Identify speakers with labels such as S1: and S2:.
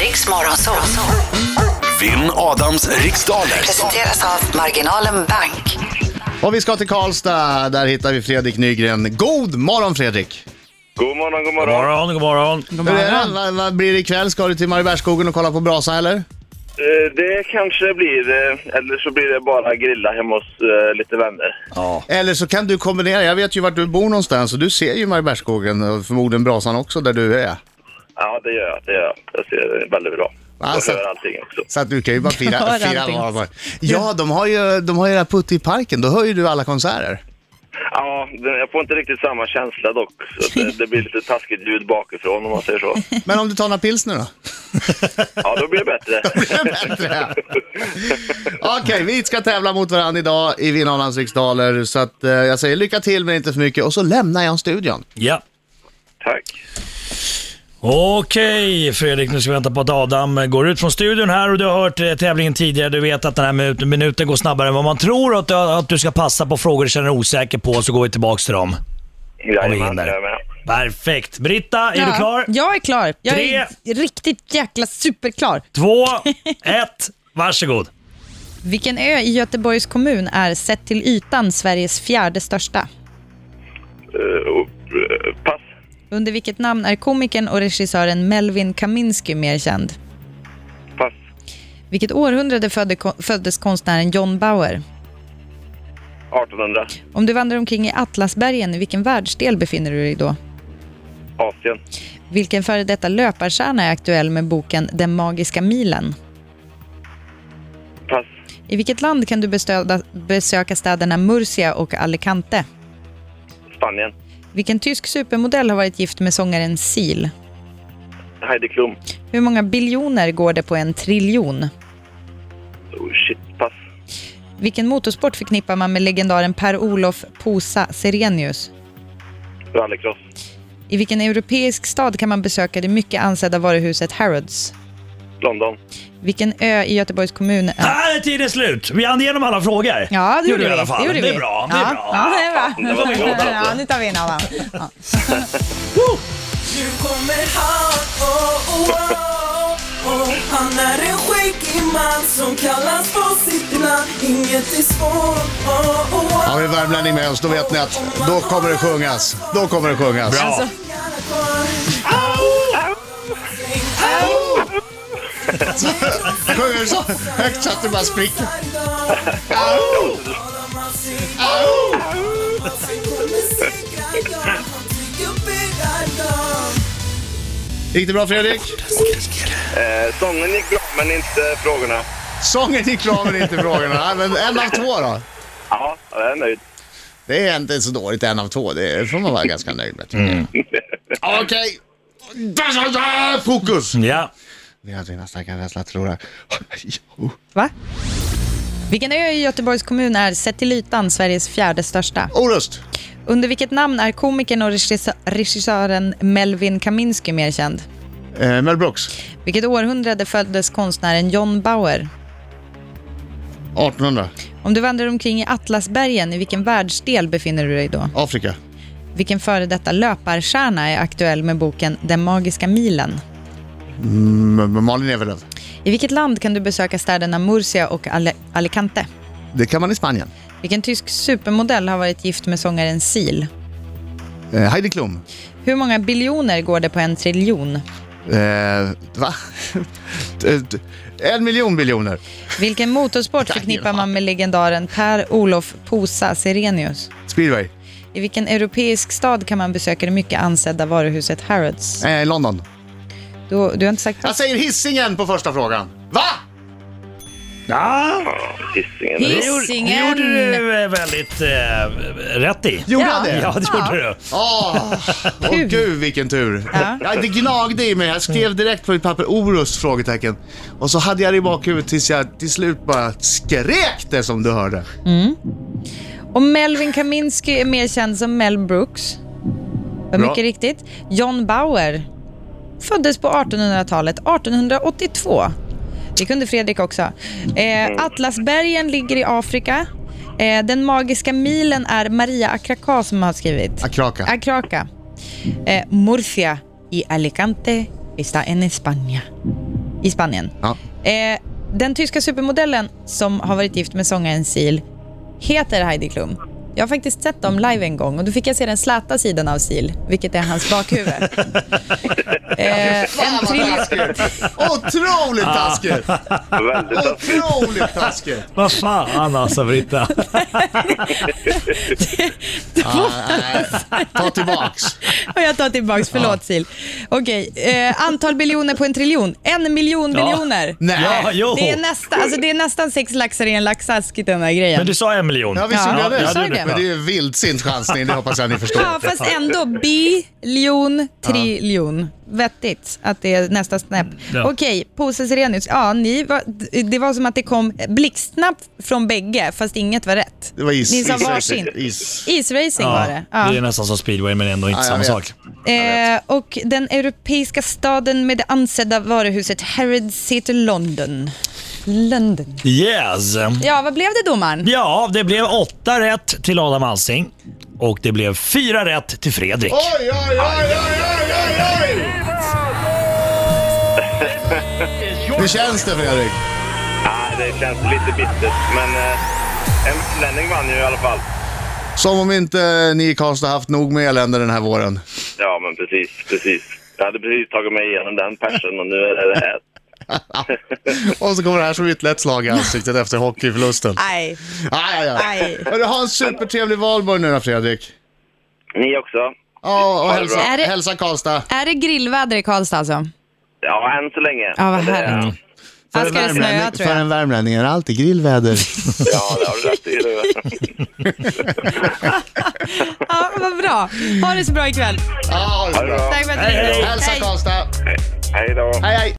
S1: Riks Morgonzoo.
S2: Vinn Adams riksdaler.
S1: Presenteras av Marginalen Bank.
S3: Och vi ska till Karlstad, där hittar vi Fredrik Nygren. God morgon Fredrik!
S4: God morgon, god
S5: God
S4: morgon.
S5: morgon, god morgon.
S6: God
S3: Hur är det?
S6: morgon.
S3: Vad- Vad blir det ikväll? Ska du till Mariebergsskogen och kolla på brasa eller?
S4: Eh, Det kanske blir, eh, eller så blir det bara grilla hemma hos eh, lite vänner.
S3: Eller så kan du kombinera, jag vet ju vart du bor någonstans och du ser ju Mariebergsskogen och förmodligen brasan också där du är.
S4: Ja, det gör jag. Det gör jag. Jag ser det väldigt bra.
S3: Alltså.
S4: Jag hör allting också.
S3: Så att du kan ju bara fira,
S6: Hör
S3: fira
S6: allting.
S3: vad- vad- Ja, de har ju, de har ju det här putte i parken, då hör ju du alla konserter.
S4: Ja, det- jag får inte riktigt samma känsla dock. Så att eh, det, det blir lite taskigt ljud bakifrån om man säger så.
S3: Men om du tar några pilsner då?
S4: Ja, då blir det bättre.
S3: Bättre. Okej, vi ska tävla mot varandra idag i Vinnarnas riksdaler. Så att, eh, jag säger lycka till men inte för mycket och så lämnar jag studion.
S5: Ja.
S4: Tack.
S5: Okej Fredrik, nu ska vi vänta på att Adam går ut från studion här och du har hört eh, tävlingen tidigare. Du vet att den här minut- minuten går snabbare än vad man tror och att du, att du ska passa på frågor du känner dig osäker på så går vi tillbaka till dem.
S4: Jajamän,
S5: hinner.
S4: jag är med.
S5: Perfekt. Britta, är du klar?
S6: Jag är klar. Jag är
S5: Tre.
S6: riktigt jäkla superklar.
S5: Två, ett, varsågod.
S6: Vilken ö i Göteborgs kommun är sett till ytan Sveriges fjärde största?
S4: Eh, och, eh, pass.
S6: Under vilket namn är komikern och regissören Melvin Kaminski mer känd?
S4: Pass.
S6: Vilket århundrade födde, föddes konstnären John Bauer?
S4: 1800.
S6: Om du vandrar omkring i Atlasbergen, i vilken världsdel befinner du dig då?
S4: Asien.
S6: Vilken före detta löparstjärna är aktuell med boken Den magiska milen?
S4: Pass.
S6: I vilket land kan du bestöda, besöka städerna Murcia och Alicante?
S4: Spanien.
S6: Vilken tysk supermodell har varit gift med sångaren Seal?
S4: Heidi Klum.
S6: Hur många biljoner går det på en triljon?
S4: Oh, shit. Pass.
S6: Vilken motorsport förknippar man med legendaren Per-Olof Posa Serenius?
S4: Rallycross.
S6: I vilken europeisk stad kan man besöka det mycket ansedda varuhuset Harrods?
S4: London.
S6: Vilken ö i Göteborgs kommun är...
S5: Där är tiden slut. Vi hann igenom alla frågor.
S6: Ja, det gjorde
S5: vi.
S6: vi.
S5: i alla fall.
S6: Det, gjorde
S5: Ah! det är
S6: vi.
S5: bra. Det
S6: ja.
S5: är bra.
S6: Ja, det är bra.
S4: det var bra.
S6: Ja, nu tar vi in Adam. Ja.
S7: Nu kommer han, oh, oh, oh, oh. Han är en skäggig man som kallas på sitt namn Inget är svårt, oh, oh, oh.
S3: Har vi värmlänning med oss, då vet ni att då kommer det sjungas. Då kommer det sjungas.
S5: Bra.
S6: Alltså,
S3: Alltså, Sjunger så högt så att det bara spricker. Gick det bra Fredrik?
S4: Eh, sången gick bra, men inte frågorna.
S3: Sången gick bra men inte frågorna. Nej, men en av två då.
S4: Ja, jag är nöjd.
S3: Det är inte så dåligt, en av två. Det får man vara ganska nöjd med. tycker jag. Okej. Fokus!
S5: Ja.
S3: Vi hade nästan kan rädsla att förlora.
S6: Va? Vilken ö i Göteborgs kommun är, sett till ytan, Sveriges fjärde största?
S3: Orust.
S6: Under vilket namn är komikern och regissö- regissören Melvin Kaminski mer känd?
S3: Eh, Mel Brooks.
S6: Vilket århundrade föddes konstnären John Bauer?
S3: 1800.
S6: Om du vandrar omkring i Atlasbergen, i vilken världsdel befinner du dig då?
S3: Afrika.
S6: Vilken före detta löparstjärna är aktuell med boken Den magiska milen?
S3: M- Malin Evelöv.
S6: I vilket land kan du besöka städerna Murcia och Ale- Alicante?
S3: Det kan man i Spanien.
S6: Vilken tysk supermodell har varit gift med sångaren Seal?
S3: Eh, Heidi Klum.
S6: Hur många biljoner går det på en triljon?
S3: Eh, va? T- t- en miljon biljoner.
S6: Vilken motorsport förknippar man med legendaren Per-Olof Posa Serenius?
S3: Speedway.
S6: I vilken europeisk stad kan man besöka det mycket ansedda varuhuset Harrods?
S3: Eh, London.
S6: Du, du har inte sagt
S5: Alltså,
S3: Jag säger hissingen på första frågan. Va?
S5: ja.
S4: Hisingen.
S5: Det
S6: Hisingen!
S5: gjorde du eh, väldigt eh, rätt i.
S3: Gjorde
S6: Ja.
S3: han det?
S5: Ja, det gjorde du.
S3: Åh, åh
S6: Tur.
S3: gud vilken tur.
S6: Ja.
S3: Ja, det gnagde i mig. Jag skrev direkt på mitt papper Orust? Frågetecken. Och så hade jag det i bakhuvudet tills jag till slut bara skrek det som du hörde.
S6: Och Melvin Kaminski är mer känd som Mel Brooks. Vad
S3: Bra.
S6: mycket riktigt. John Bauer föddes på 1800-talet, 1882. Det kunde Fredrik också.
S3: Mm.
S6: Eh, Atlasbergen ligger i Afrika. Eh, den magiska milen är Maria Akraka som har skrivit.
S3: Akraka.
S6: Akraka. Eh, Murcia i Alicante está en España. i Spanien.
S3: Ja.
S6: Eh, den tyska supermodellen som har varit gift med sångaren Sil heter Heidi Klum. Jag har faktiskt sett dem live en gång och då fick jag se den släta sidan av Sil, vilket är hans bakhuvud. eh, en trill-
S3: Otroligt taskigt!
S4: Väldigt taskigt.
S3: Otroligt taskigt!
S5: Vad fan alltså Britta.
S3: Ah, nej. Ta tillbaks.
S6: Och jag tar tillbaks, förlåt Sil. Okej, eh, antal biljoner på en triljon. En miljon
S5: Ja.
S6: biljoner.
S3: Nej.
S5: Ja, jo.
S6: Det är, nästa, alltså det är nästan sex laxar i en laxask i den här grejen.
S5: Men du sa en miljon.
S3: Ja, visst
S6: Ja,
S3: gjorde jag
S6: du
S3: det.
S6: sa ju det.
S3: Men det är ju en vildsint chansning, det hoppas jag ni förstår.
S6: Ja, fast ändå biljon, triljon. Vettigt att det är nästa snäpp.
S5: Mm, Ja.
S6: Okej, Pose Sirenius. Ja, ni var, det var som att det kom blixtsnabbt från bägge, fast inget var rätt.
S3: Det var is.
S6: Ni sa
S3: is-
S6: varsin.
S3: Is.
S6: Isracing var det. Ja.
S5: Det är nästan som speedway men ändå inte
S3: Ja, jag
S5: samma
S3: vet.
S5: sak.
S6: Eh, och den europeiska staden med det ansedda varuhuset Harrods heter London. London.
S5: Yes!
S6: Ja, vad blev det domaren?
S5: Ja, det blev åtta rätt till Adam Alsing och det blev fyra rätt till Fredrik.
S3: Oj, oj, oj, oj, oj, oj, oj! Hur känns det Fredrik?
S4: Nej, det känns lite bittert, men eh, en utlänning vann ju i alla fall.
S3: Som om inte ni i Karlstad haft nog med elände den här våren.
S4: Ja, men precis, precis. Jag hade precis tagit mig igenom den persen och nu är det det här.
S3: Och så kommer det här som ytterligare ett slag i ansiktet efter hockeyförlusten.
S6: Nej.
S3: Aj, aj, aj.
S6: Aj.
S3: Hörru, ha en supertrevlig valborg nu då Fredrik.
S4: Ni också?
S3: Ja, och
S4: det
S3: hälsa,
S4: bra.
S6: Är det-
S3: hälsa Karlstad.
S6: Är det grillväder i Karlstad alltså?
S4: Ja, än så länge.
S6: Ja, vad
S4: Men det-
S6: härligt. Här ska det snöa tror jag.
S3: värmlänning är det alltid grillväder.
S4: Ja, det har du rätt i. du.
S6: Ja, vad bra. Ha det så bra ikväll.
S3: Ja, ha det
S4: Ha det
S3: bra.
S4: bra.
S6: Tack för att du
S5: Hej, hej.
S6: ringde.
S3: Hälsa Karlstad.
S4: Hej då.
S3: Hej, hej.